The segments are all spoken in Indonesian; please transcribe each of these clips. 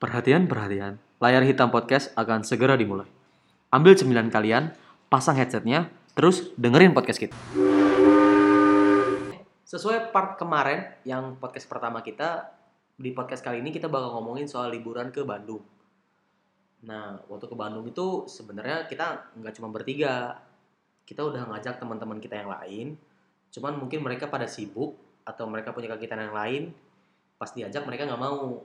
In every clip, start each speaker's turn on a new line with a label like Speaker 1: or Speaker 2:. Speaker 1: Perhatian, perhatian. Layar hitam podcast akan segera dimulai. Ambil cemilan kalian, pasang headsetnya, terus dengerin podcast kita. Sesuai part kemarin yang podcast pertama kita, di podcast kali ini kita bakal ngomongin soal liburan ke Bandung. Nah, waktu ke Bandung itu sebenarnya kita nggak cuma bertiga. Kita udah ngajak teman-teman kita yang lain. Cuman mungkin mereka pada sibuk atau mereka punya kegiatan yang lain. Pas diajak mereka nggak mau.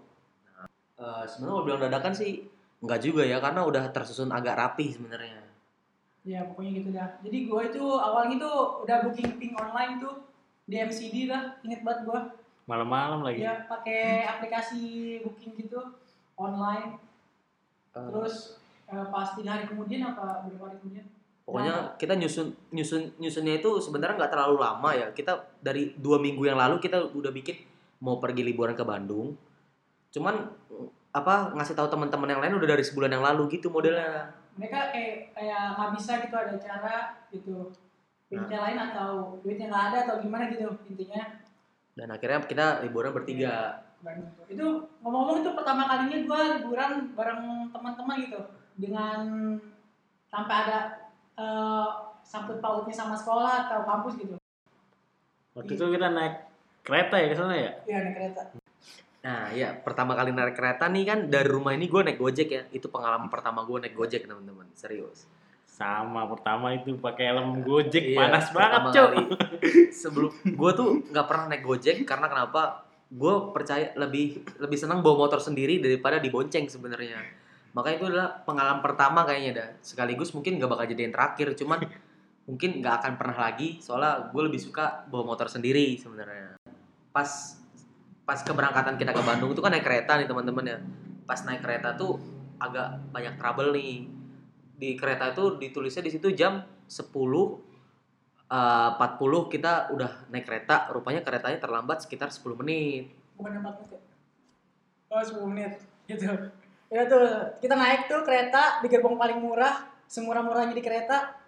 Speaker 1: Nah, eh, sebenarnya kalau bilang dadakan sih nggak juga ya karena udah tersusun agak rapi sebenarnya.
Speaker 2: Ya pokoknya gitu dah. Jadi gue itu awalnya tuh udah booking ping online tuh di MCD lah, inget banget gue.
Speaker 3: malam-malam lagi
Speaker 2: Ya pakai aplikasi booking gitu online.
Speaker 1: Eh,
Speaker 2: Terus eh, pas tiga hari kemudian apa berapa hari kemudian?
Speaker 1: Pokoknya kita nyusun nyusun nyusunnya itu sebenarnya nggak terlalu lama ya. Kita dari dua minggu yang lalu kita udah bikin mau pergi liburan ke Bandung. Cuman apa ngasih tahu teman-teman yang lain udah dari sebulan yang lalu gitu modelnya.
Speaker 2: Mereka kayak kayak nggak bisa gitu ada acara gitu. Duitnya lain atau duitnya nggak ada atau gimana gitu intinya.
Speaker 1: Dan akhirnya kita liburan bertiga.
Speaker 2: Bandung tuh. gitu. Itu ngomong-ngomong itu pertama kalinya gue liburan bareng teman-teman gitu dengan tanpa ada eh, sangkut pautnya sama sekolah atau kampus gitu.
Speaker 3: waktu itu kita naik kereta ya ke sana ya
Speaker 2: Iya naik kereta.
Speaker 1: Nah ya pertama kali naik kereta nih kan dari rumah ini gue naik gojek ya. Itu pengalaman pertama gue naik gojek teman-teman serius.
Speaker 3: sama pertama itu pakai helm
Speaker 1: Iya,
Speaker 3: gojek panas banget
Speaker 1: pertama
Speaker 3: cok
Speaker 1: kali. Sebelum gue tuh nggak pernah naik gojek karena kenapa? Gue percaya lebih lebih senang bawa motor sendiri daripada dibonceng sebenarnya. Makanya itu adalah pengalaman pertama kayaknya dah. Sekaligus mungkin nggak bakal jadi yang terakhir, cuman mungkin nggak akan pernah lagi. Soalnya gue lebih suka bawa motor sendiri sebenarnya. Pas pas keberangkatan kita ke Bandung itu kan naik kereta nih teman-teman ya. Pas naik kereta tuh agak banyak trouble nih. Di kereta itu ditulisnya di situ jam 10 eh, 40 kita udah naik kereta, rupanya keretanya terlambat sekitar 10 menit.
Speaker 2: Bukan empat menit. ya? Oh sepuluh menit gitu. Ya tuh kita naik tuh kereta di gerbong paling murah semurah-murahnya di kereta.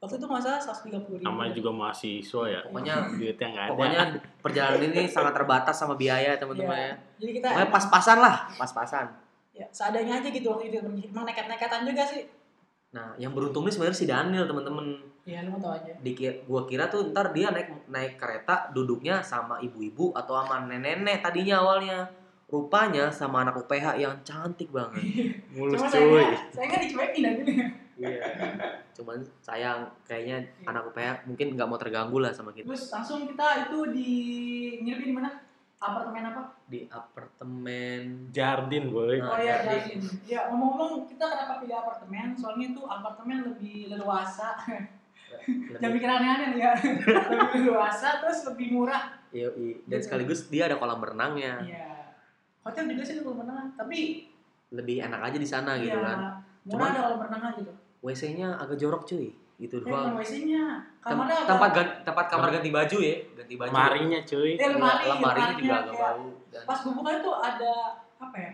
Speaker 2: Waktu itu masa seratus tiga puluh ribu.
Speaker 3: namanya juga mahasiswa ya
Speaker 1: Pokoknya
Speaker 3: duitnya nggak ada
Speaker 1: pokoknya perjalanan ini sangat terbatas sama biaya, teman-teman
Speaker 2: Iya.
Speaker 1: ya.
Speaker 2: Jadi kita
Speaker 1: Pokoknya pas-pasan lah, pas-pasan.
Speaker 2: ya, seadanya aja gitu waktu itu emang nekat-nekatan juga sih.
Speaker 1: Nah, yang beruntung ini sebenarnya si Daniel, teman-teman.
Speaker 2: Iya lu mau tau aja.
Speaker 1: Dikir, gua kira tuh ntar dia naik naik kereta duduknya sama ibu-ibu atau sama nenek-nenek tadinya awalnya. Rupanya sama anak UPH yang cantik banget.
Speaker 3: mulus
Speaker 2: Cuma
Speaker 3: cuy
Speaker 1: ya?
Speaker 3: Iya.
Speaker 2: saya saya nggak dicuekin aja.
Speaker 1: Cuman sayang kayaknya
Speaker 2: Iya.
Speaker 1: anak UPH mungkin nggak mau terganggu lah sama kita.
Speaker 2: Terus langsung kita itu di nginepnya di mana? Apartemen apa?
Speaker 1: Di apartemen
Speaker 3: jardin boy
Speaker 1: Nah,
Speaker 2: Oh iya,
Speaker 1: jadi-
Speaker 2: Davin. Ya ngomong-ngomong kita kenapa pilih apartemen? Soalnya itu apartemen lebih leluasa. Jangan
Speaker 1: Lebih-
Speaker 2: pikir aneh-aneh nih ya. lebih leluasa terus lebih murah.
Speaker 1: Yoi.
Speaker 2: Hmm.
Speaker 1: Dan sekaligus dia ada kolam renangnya.
Speaker 2: Iya. Hotel juga sih lebih menengah, tapi
Speaker 1: Lebih enak aja di sana gitu kan.
Speaker 2: ya murah
Speaker 1: Cuman-
Speaker 2: ada kolam renangnya gitu.
Speaker 1: WC-nya agak jorok cuy. Gitu
Speaker 2: Ya, ada
Speaker 1: doang.
Speaker 2: WC-nya.
Speaker 1: Tem-
Speaker 2: Kamarnya ada-
Speaker 1: tempat gan- tempat kamar ganti baju ya, ganti baju.
Speaker 3: marinya cuy
Speaker 2: Iya, lemari,
Speaker 1: lemarinya juga
Speaker 2: lemarinya
Speaker 1: agak
Speaker 2: kayak-
Speaker 1: bau. Dan-
Speaker 2: Pas gue buka itu ada apa ya?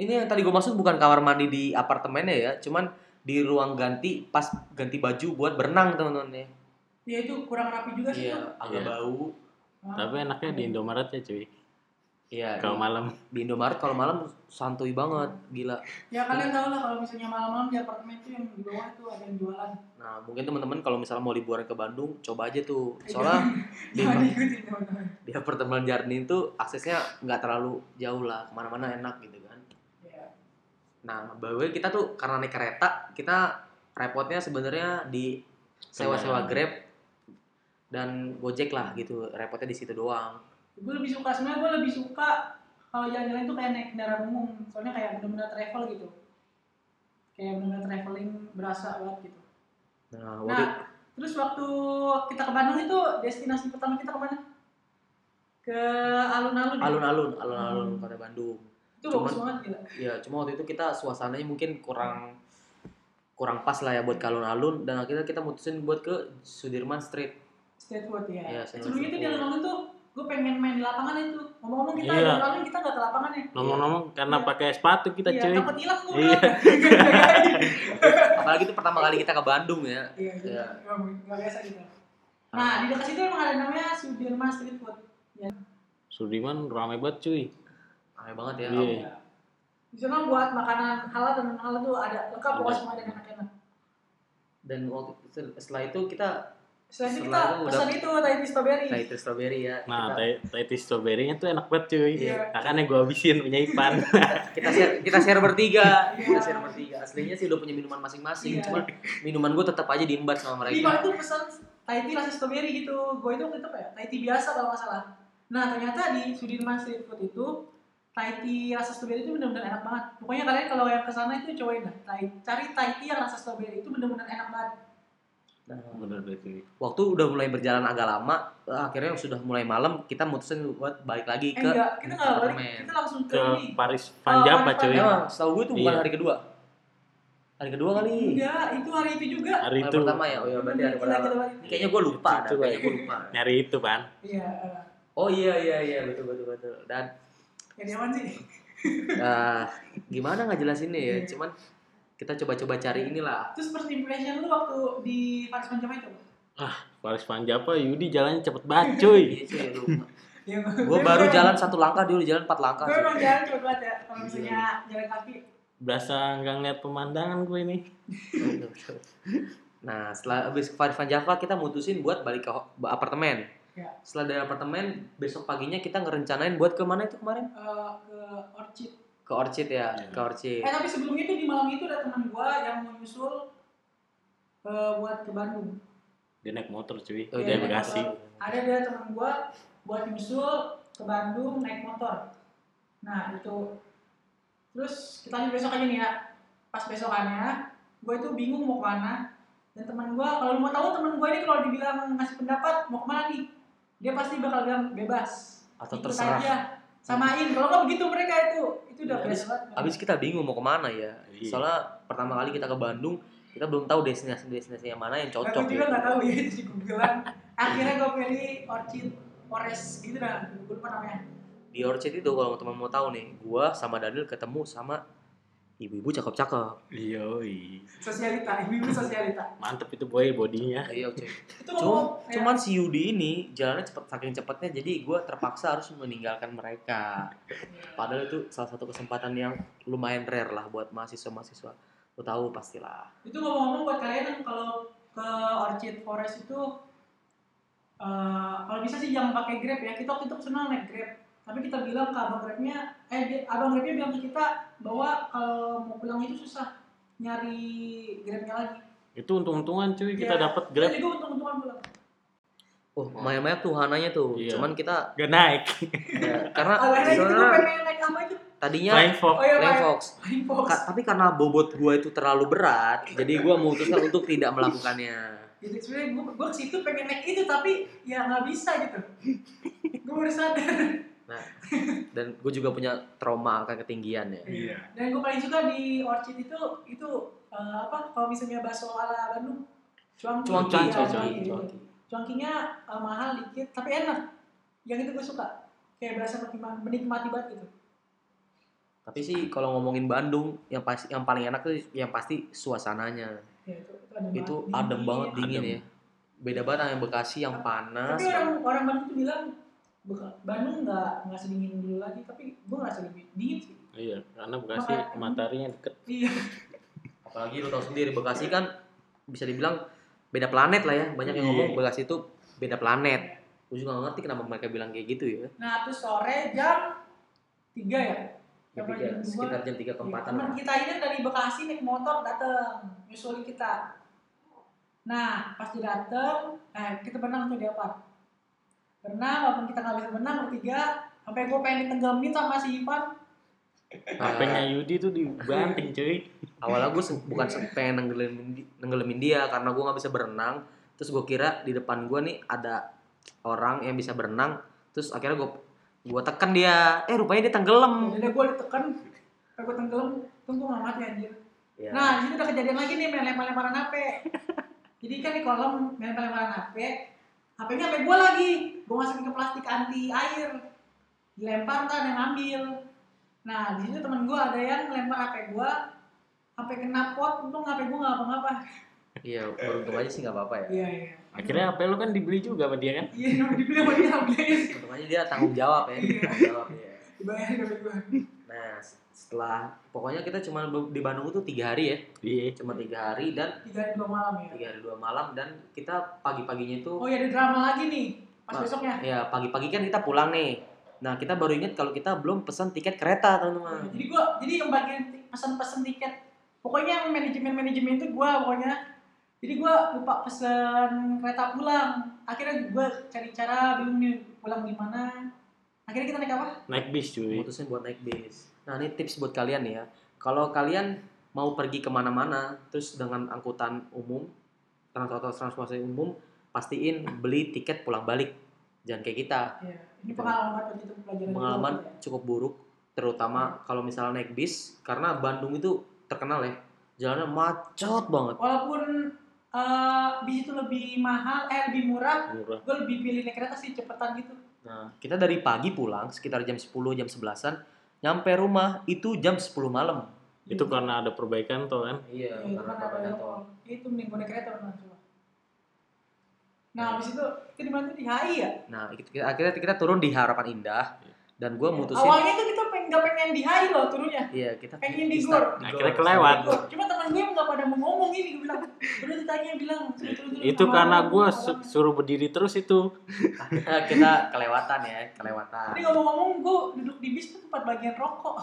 Speaker 1: Ini yang tadi gue maksud bukan kamar mandi di apartemennya ya, cuman di ruang ganti pas ganti baju buat berenang teman-teman ya.
Speaker 2: Ya itu kurang rapi juga sih. tuh.
Speaker 1: Iya, agak
Speaker 3: Iya.
Speaker 1: bau.
Speaker 2: Nah,
Speaker 3: tapi enaknya di Indomaret ya cuy
Speaker 1: Iya.
Speaker 3: kalau
Speaker 1: Di,
Speaker 3: malam
Speaker 1: di Indomaret kalau malam santuy banget, gila.
Speaker 2: Ya kalian tau lah kalau misalnya malam-malam di apartemen itu yang di bawah itu ada yang jualan.
Speaker 1: Nah, mungkin teman-teman kalau misalnya mau liburan ke Bandung, coba aja tuh. Soalnya di
Speaker 2: Jangan diikutin teman-teman.
Speaker 1: di apartemen Jarni itu aksesnya nggak terlalu jauh lah kemana-mana enak gitu kan
Speaker 2: Ya.
Speaker 1: nah by the way, kita tuh karena naik kereta kita repotnya sebenarnya di sewa-sewa
Speaker 3: Kendaraan.
Speaker 1: grab dan gojek lah gitu repotnya di situ doang
Speaker 2: gue lebih suka sebenarnya gue lebih suka kalau jalan-jalan itu kayak naik kendaraan umum soalnya kayak benar-benar travel gitu kayak benar-benar traveling berasa banget gitu
Speaker 1: nah
Speaker 2: nah
Speaker 1: waktu
Speaker 2: terus waktu kita ke Bandung itu destinasi pertama kita kemana ke alun-alun ya?
Speaker 1: alun-alun alun-alun
Speaker 2: Hmm.
Speaker 1: kota Bandung
Speaker 2: itu bagus
Speaker 1: cuman-
Speaker 2: banget gila
Speaker 1: ya cuma waktu itu kita suasananya mungkin kurang kurang pas lah ya buat ke alun-alun dan akhirnya kita mutusin buat ke Sudirman Street
Speaker 2: state food ya
Speaker 1: Iya, state
Speaker 2: sebelum
Speaker 1: food.
Speaker 2: itu di alun-alun tuh gue pengen main di lapangan itu ngomong-ngomong kita
Speaker 3: Iya.
Speaker 2: alun-alun kita nggak ke lapangan ya
Speaker 3: ngomong-ngomong karena
Speaker 2: Iya.
Speaker 3: pakai sepatu kita
Speaker 2: iya,
Speaker 3: cuy
Speaker 2: takut hilang gue
Speaker 3: Iya.
Speaker 1: apalagi itu pertama kali kita ke Bandung ya
Speaker 2: Iya, gitu.
Speaker 1: Iya.
Speaker 2: Nggak- nggak biasa gitu. Nah, di dekat situ emang ada namanya Sudirman Street Food.
Speaker 3: Sudirman ramai banget cuy
Speaker 1: aneh banget ya
Speaker 3: Iya.
Speaker 2: Iya. Di sana buat makanan halal dan non halal tuh ada lengkap pokoknya semua ada yang enak-enak.
Speaker 1: dan waktu se- setelah itu kita
Speaker 2: Selain itu kita
Speaker 1: Selalu udah-
Speaker 2: pesan itu Thai tea strawberry.
Speaker 1: nah itu strawberry ya
Speaker 3: Nah,
Speaker 1: kita,
Speaker 3: tai tai tea strawberry-nya tuh enak banget cuy.
Speaker 2: Iya.
Speaker 3: Makanya gue habisin punya Ipan.
Speaker 1: kita share kita share bertiga
Speaker 2: Iya.
Speaker 1: kita share bertiga aslinya sih udah punya minuman masing-masing
Speaker 2: Iya.
Speaker 1: cuma minuman gue tetap aja diembat sama
Speaker 2: Di Bali
Speaker 1: mereka
Speaker 2: tuh pesan Thai tea rasa strawberry gitu. Gue itu waktu itu apa ya? Thai tea biasa kalau nggak salah. Nah ternyata di Sudirman Street Food itu Thai tea rasa strawberry itu benar-benar enak banget. Pokoknya kalian kalau yang kesana itu cobain dah. Thai, cari Thai tea yang rasa strawberry itu benar-benar enak banget.
Speaker 1: Nah,
Speaker 3: Bener deh cuy.
Speaker 1: waktu udah mulai berjalan agak lama eh, akhirnya sudah mulai malam kita mutusin buat balik lagi
Speaker 2: Eh
Speaker 1: ke
Speaker 2: enggak, kita nggak balik,
Speaker 1: apartemen.
Speaker 2: kita langsung ke,
Speaker 3: Ke
Speaker 2: ini.
Speaker 3: Paris Van Java
Speaker 2: Iya. Oh, Paris Van
Speaker 3: cuy.
Speaker 2: Java.
Speaker 1: Emang, setahu gue itu bukan
Speaker 3: Iya.
Speaker 1: hari kedua. Hari kedua kali.
Speaker 2: Enggak, itu hari itu juga.
Speaker 3: Hari
Speaker 1: Hari
Speaker 3: itu eh.
Speaker 1: pertama ya, oh ya berarti hari
Speaker 2: Kita-
Speaker 1: pertama.
Speaker 2: kita balik.
Speaker 1: Ini Kayaknya gue lupa,
Speaker 3: Itu
Speaker 1: dah,
Speaker 3: gua
Speaker 1: kayaknya gue lupa.
Speaker 3: nyari itu pan.
Speaker 2: Iya, eh,
Speaker 1: Oh iya iya iya betul betul betul. Dan
Speaker 2: jadi ya, aman sih.
Speaker 1: eh, gimana nggak jelasin ya,
Speaker 2: Iya.
Speaker 1: cuman kita coba-coba cari inilah.
Speaker 2: Terus first impression lu waktu di Paris Panjama itu?
Speaker 3: Paris Van Java Yudi jalannya cepet banget cuy.
Speaker 1: Iya cuy, lu-
Speaker 2: Ya,
Speaker 1: Gua baru jalan satu langkah, dia udah jalan empat langkah.
Speaker 2: Gue emang
Speaker 1: cuy.
Speaker 2: jalan coba banget ya, kalau
Speaker 1: Iya.
Speaker 2: misalnya jalan kaki.
Speaker 3: Berasa nggak ngeliat pemandangan gue ini.
Speaker 1: Nah, setelah habis ke Van Java kita mutusin buat balik ke ho- apartemen.
Speaker 2: Iya.
Speaker 1: Setelah dari apartemen, besok paginya kita ngerencanain buat ke mana itu kemarin?
Speaker 2: eh, ke Orchid.
Speaker 1: Ke Orchid ya,
Speaker 3: Iya.
Speaker 1: ke Orchid.
Speaker 2: Eh tapi sebelum itu di malam itu ada teman gue yang mau nyusul eh, buat ke Bandung.
Speaker 3: Dia naik motor cuy.
Speaker 1: Oh,
Speaker 2: Iya,
Speaker 3: Dia
Speaker 2: naik
Speaker 3: Bekasi.
Speaker 2: motor. Ada dia teman gue buat nyusul ke Bandung naik motor. Nah itu terus kita lanjut besok aja nih ya. Pas besokannya gue itu bingung mau kemana dan teman gue kalau lu mau tahu teman gue ini kalau dibilang ngasih pendapat mau kemana nih dia pasti bakal bilang bebas
Speaker 1: Atau
Speaker 2: Ikut
Speaker 1: terserah.
Speaker 2: aja. samain kalau nggak begitu mereka itu itu
Speaker 1: Ya,
Speaker 2: udah biasa banget
Speaker 1: Habis kita bingung mau kemana ya.
Speaker 3: Iya.
Speaker 1: Soalnya pertama kali kita ke Bandung, kita belum tahu destinasi destinasi yang mana yang
Speaker 2: Nah,
Speaker 1: cocok.
Speaker 2: gue juga nggak tahu ya itu sih gue bilang akhirnya gue pilih orchid forest gitu dah gue lupa namanya
Speaker 1: Di Orchid itu kalau teman mau tahu nih, gua sama Daniel ketemu sama ibu-ibu cakep-cakep.
Speaker 3: Yoi.
Speaker 2: sosialita ibu sosialita
Speaker 3: Mantep itu boy bodinya.
Speaker 1: Iya, cuy.
Speaker 2: itu
Speaker 1: Cuma,
Speaker 2: ngomong,
Speaker 1: cuman si Yudi ini jalannya cepet saking cepetnya jadi gua terpaksa harus meninggalkan mereka.
Speaker 2: ya,
Speaker 1: Padahal itu salah satu kesempatan yang lumayan rare lah buat mahasiswa-mahasiswa. Lu tahu pastilah.
Speaker 2: itu ngomong-ngomong buat kalian yang kalau ke orchid forest itu eh, kalau bisa sih jangan pakai grab ya kita waktu itu kesana naik grab tapi kita bilang ke abang grabnya eh dia- abang grabnya bilang ke kita bahwa kalau mau pulang itu susah nyari grabnya lagi
Speaker 3: Itu untung-untungan cuy kita
Speaker 2: Iya.
Speaker 3: dapat grab
Speaker 2: jadi gue untung-untungan pulang
Speaker 1: Oh,
Speaker 2: Iya.
Speaker 1: maya-maya tuh hananya tuh.
Speaker 3: Iya.
Speaker 1: Cuman kita
Speaker 3: gak naik.
Speaker 1: ya, karena
Speaker 2: awalnya gitu itu gue
Speaker 1: sebenarnya
Speaker 2: pengen naik apa itu
Speaker 1: tadinya
Speaker 3: Flying Fox.
Speaker 2: oh iya
Speaker 1: Flying
Speaker 2: Pak.
Speaker 1: Fox.
Speaker 2: Flying Fox.
Speaker 1: Ka- tapi karena bobot gua itu terlalu berat, jadi gua memutuskan untuk tidak melakukannya.
Speaker 2: Jadi Gitu, sebenarnya gue gue ke situ pengen naik itu tapi ya nggak bisa gitu. gue baru sadar.
Speaker 1: Dan gue juga punya trauma akan ketinggian ya.
Speaker 3: Iya.
Speaker 2: Dan gue paling suka di Orchid itu itu eh, apa kalau misalnya bakso ala Bandung. Cuangki.
Speaker 1: Cuangki,
Speaker 2: Iya,
Speaker 1: cuangki,
Speaker 3: cuangki.
Speaker 2: Cuangkinya eh, mahal dikit tapi enak. Yang itu gue suka. Kayak berasa menikmati, menikmati banget gitu.
Speaker 1: Tapi sih kalau ngomongin Bandung, yang pasti yang paling enak tuh yang pasti suasananya.
Speaker 2: Ya, itu itu adem
Speaker 1: Itu
Speaker 2: banget.
Speaker 1: adem banget dingin
Speaker 3: Adem.
Speaker 1: ya. Beda banget sama yang Bekasi yang panas.
Speaker 2: Iya. Tapi orang orang Bandung tuh bilang "Bek- Bandung nggak nggak sedingin dulu lagi tapi gue ngerasa lebih dingin sih.
Speaker 3: Iya, karena Bekasi
Speaker 2: Makanya-
Speaker 3: mataharinya deket.
Speaker 2: Iya.
Speaker 1: Apalagi lu tahu sendiri Bekasi kan bisa dibilang beda planet lah ya. Banyak yang
Speaker 3: Iya.
Speaker 1: ngomong Bekasi itu beda planet. Gue juga gak ngerti kenapa mereka bilang kayak gitu ya.
Speaker 2: Nah, terus sore jam 3 ya?
Speaker 1: Jam
Speaker 2: Jam
Speaker 1: tiga,
Speaker 2: jam dua. iya.
Speaker 1: sekitar jam 3 ke 4
Speaker 2: Teman kita ini dari Bekasi naik motor dateng, nyusulin kita. Nah, pas dia dateng, nah kita benang tuh di apart. Benang, walaupun kita nggak bisa benang bertiga, sampai gue pengen ditenggemin sama si Ipan.
Speaker 3: HP-nya
Speaker 2: Iya.
Speaker 3: Yudi tuh dibanting cuy.
Speaker 1: awalnya gue bukan se- pengen nenggelemin, di- nenggelemin dia karena gue nggak bisa berenang terus gue kira di depan gue nih ada orang yang bisa berenang terus akhirnya gue gue tekan dia eh rupanya dia tenggelam
Speaker 2: Jadi gue diteken, sampai gue tenggelam, tuh gue nggak mati anjir.
Speaker 1: ya.
Speaker 2: Nah, di situ udah kejadian lagi nih main lempar-lemparan HP. Jadi kan di kolam main lempar-lemparan HP, HP-nya HP gue lagi. Gue masukin ke plastik anti air. Dilempar kan yang ambil. Nah, di situ teman gue ada yang lempar HP gue. HP kena pot, untung HP gue nggak apa-apa.
Speaker 1: iya beruntung aja sih nggak apa-apa ya
Speaker 2: Iya, iya.
Speaker 3: Akhirnya HP lu kan dibeli juga sama dia kan?
Speaker 2: Iya, namanya dibeli sama dia, beli.
Speaker 1: untung aja dia tanggung jawab ya
Speaker 2: Iya.
Speaker 1: tanggung jawab ya
Speaker 2: Dibayarin HP gue.
Speaker 1: nah Nah, se- setelah pokoknya kita cuma be- di Bandung itu tiga hari ya,
Speaker 3: Iya.
Speaker 1: cuma tiga hari dan
Speaker 2: tiga hari dua malam ya
Speaker 1: tiga hari dua malam dan kita pagi-paginya itu
Speaker 2: oh ya ada drama lagi nih pas
Speaker 1: Nah.
Speaker 2: besoknya
Speaker 1: ya pagi-pagi kan kita pulang nih. Nah kita baru ingat kalau kita belum pesan tiket kereta teman-teman.
Speaker 2: jadi gua jadi yang bagian ti- pesan-pesan tiket pokoknya yang manajemen manajemen itu gua pokoknya jadi gua lupa pesan kereta pulang akhirnya gua cari cara bingung nih pulang gimana akhirnya kita naik apa
Speaker 3: Naik bis cuy.
Speaker 1: Mutusin buat naik bis. Nah ini tips buat kalian nih ya. Kalau kalian mau pergi kemana-mana terus dengan angkutan umum, transportasi transportasi umum, pastiin beli tiket pulang balik. Jangan kayak kita.
Speaker 2: Iya, ini pengalaman buat itu pelajaran
Speaker 1: gitu. pengalaman
Speaker 2: hidup ya.
Speaker 1: cukup buruk terutama kalau misalnya naik bis karena Bandung itu terkenal ya jalannya macet banget
Speaker 2: walaupun eh, bis itu lebih mahal eh lebih murah
Speaker 3: Murah.
Speaker 2: gue lebih pilih naik kereta sih cepetan gitu
Speaker 1: nah kita dari pagi pulang sekitar jam 10 jam 11an nyampe rumah itu jam 10 malam
Speaker 3: Itu
Speaker 2: Iya.
Speaker 3: karena ada perbaikan tuh kan.
Speaker 1: iya
Speaker 2: Ya, itu kan ada yang- itu mending gue naik kereta beneran,
Speaker 1: Iya.
Speaker 2: coba. nah habis itu itu di mana tuh? di HI ya
Speaker 1: nah itu kita- akhirnya kita turun di Harapan Indah dan gue mutusin
Speaker 2: Iya. awalnya tuh kita pengen nggak pengen di HI loh turunnya
Speaker 1: iya kita
Speaker 2: pengen di
Speaker 1: start-
Speaker 3: gor.
Speaker 1: di
Speaker 3: Akhirnya kelewat.
Speaker 2: Gua- cuma teman gue nggak pada mau ngomong ini gue bilang terus ditanya bilang "Turun, turun, turun."
Speaker 3: Itu
Speaker 2: Sama
Speaker 3: karena
Speaker 2: orang,
Speaker 3: gue
Speaker 2: sama orang.
Speaker 3: suruh berdiri terus itu.
Speaker 1: kita kelewatan ya kelewatan
Speaker 2: Ini ngomong-ngomong gue duduk di bis tuh tempat bagian rokok.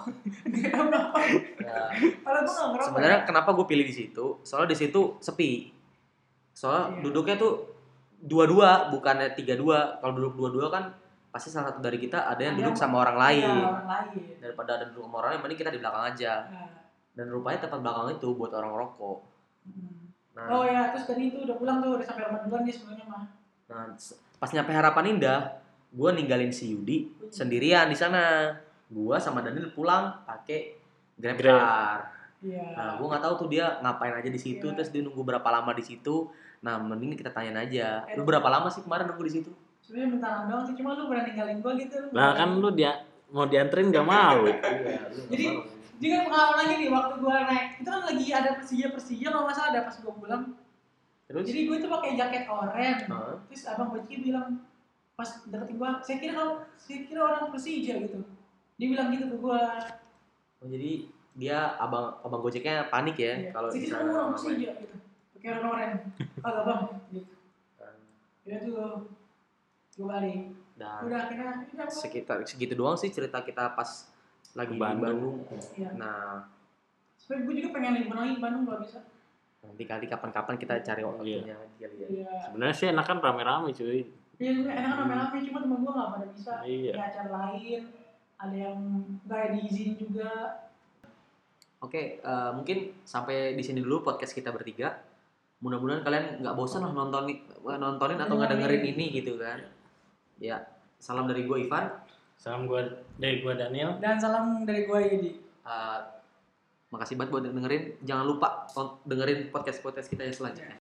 Speaker 2: Gak tau kenapa.
Speaker 1: Nah,
Speaker 2: Padahal gue gak ngerokok.
Speaker 1: sebenarnya kenapa gue pilih di situ soalnya di situ sepi soalnya
Speaker 2: Iya.
Speaker 1: duduknya tuh dua-dua bukannya tiga-dua kalau duduk dua-dua kan pasti salah satu dari kita ada yang
Speaker 2: Ada
Speaker 1: duduk
Speaker 2: yang-
Speaker 1: sama orang
Speaker 2: ya.
Speaker 1: lain
Speaker 2: Iya, orang lain.
Speaker 1: daripada ada duduk sama orang lain mending kita di belakang aja
Speaker 2: Nah,
Speaker 1: dan rupanya tempat belakang itu buat orang rokok
Speaker 2: mm.
Speaker 1: nah,
Speaker 2: Oh ya, terus tadi itu udah pulang tuh, udah sampai rumah duluan dia sebenarnya mah.
Speaker 1: nah, s- pas nyampe harapan indah gue ninggalin si Yudi sendirian di sana gue sama Daniel pulang pakai grab
Speaker 3: Grab.
Speaker 1: car
Speaker 2: Iya.
Speaker 1: Nah, gue nggak tahu tuh dia ngapain aja di situ,
Speaker 2: Iya.
Speaker 1: terus dia nunggu berapa lama di situ. Nah, mending kita tanyain aja.
Speaker 2: Eh,
Speaker 1: Lu berapa lama sih kemarin nunggu di situ?
Speaker 2: Sebenarnya bentaran doang sih, cuma lu berani ninggalin gua gitu. lu.
Speaker 3: Lah kan lu dia mau dianterin gak mau.
Speaker 2: Jadi, juga kan pengalaman lagi nih waktu gua naik. Itu kan lagi ada Persija Persija kalau nggak salah ada pas gua pulang.
Speaker 1: terus
Speaker 2: Jadi gua tuh pakai jaket oranye.
Speaker 1: Hah?
Speaker 2: Terus abang Bocki bilang pas deketin gua, saya kira kamu, saya kira orang Persija gitu. Dia bilang gitu ke gua.
Speaker 1: Oh, jadi dia abang abang gojeknya panik ya
Speaker 2: Iya.
Speaker 1: kalau
Speaker 2: saya
Speaker 1: di
Speaker 2: kira
Speaker 1: sana
Speaker 2: kamu orang
Speaker 1: ngapain.
Speaker 2: Persija gitu. Pakai orang oranye. Kagak bang. Gitu. Ya tuh dua kali.
Speaker 1: Dan
Speaker 2: Udah akhirnya udah. Bang.
Speaker 1: sekitar segitu doang sih cerita kita pas lagi
Speaker 3: Ke Bandung.
Speaker 1: di Bandung.
Speaker 2: Iya.
Speaker 1: Nah,
Speaker 2: Sebenernya gue juga pengen libur lagi ke Bandung kalau bisa.
Speaker 1: nanti kali kapan-kapan kita cari waktunya lagi kali ya.
Speaker 2: Iya.
Speaker 3: Sebenarnya sih enak kan rame-rame cuy.
Speaker 2: Iya, sebenarnya enak kan rame-rame, cuma temen gue gak pada bisa.
Speaker 3: Iya.
Speaker 2: Ada acara lain, ada yang gak diizin juga.
Speaker 1: Oke, eh, mungkin sampai di sini dulu podcast kita bertiga. Mudah-mudahan kalian nggak bosan lah nonton eh, nontonin atau nggak dengerin ini gitu kan. Ya, salam dari gue Ivan.
Speaker 3: Salam gue dari gue Daniel.
Speaker 2: Dan salam dari gue Yudi.
Speaker 1: Eh, makasih banget buat dengerin. Jangan lupa ton- dengerin podcast-podcast kita yang selanjutnya.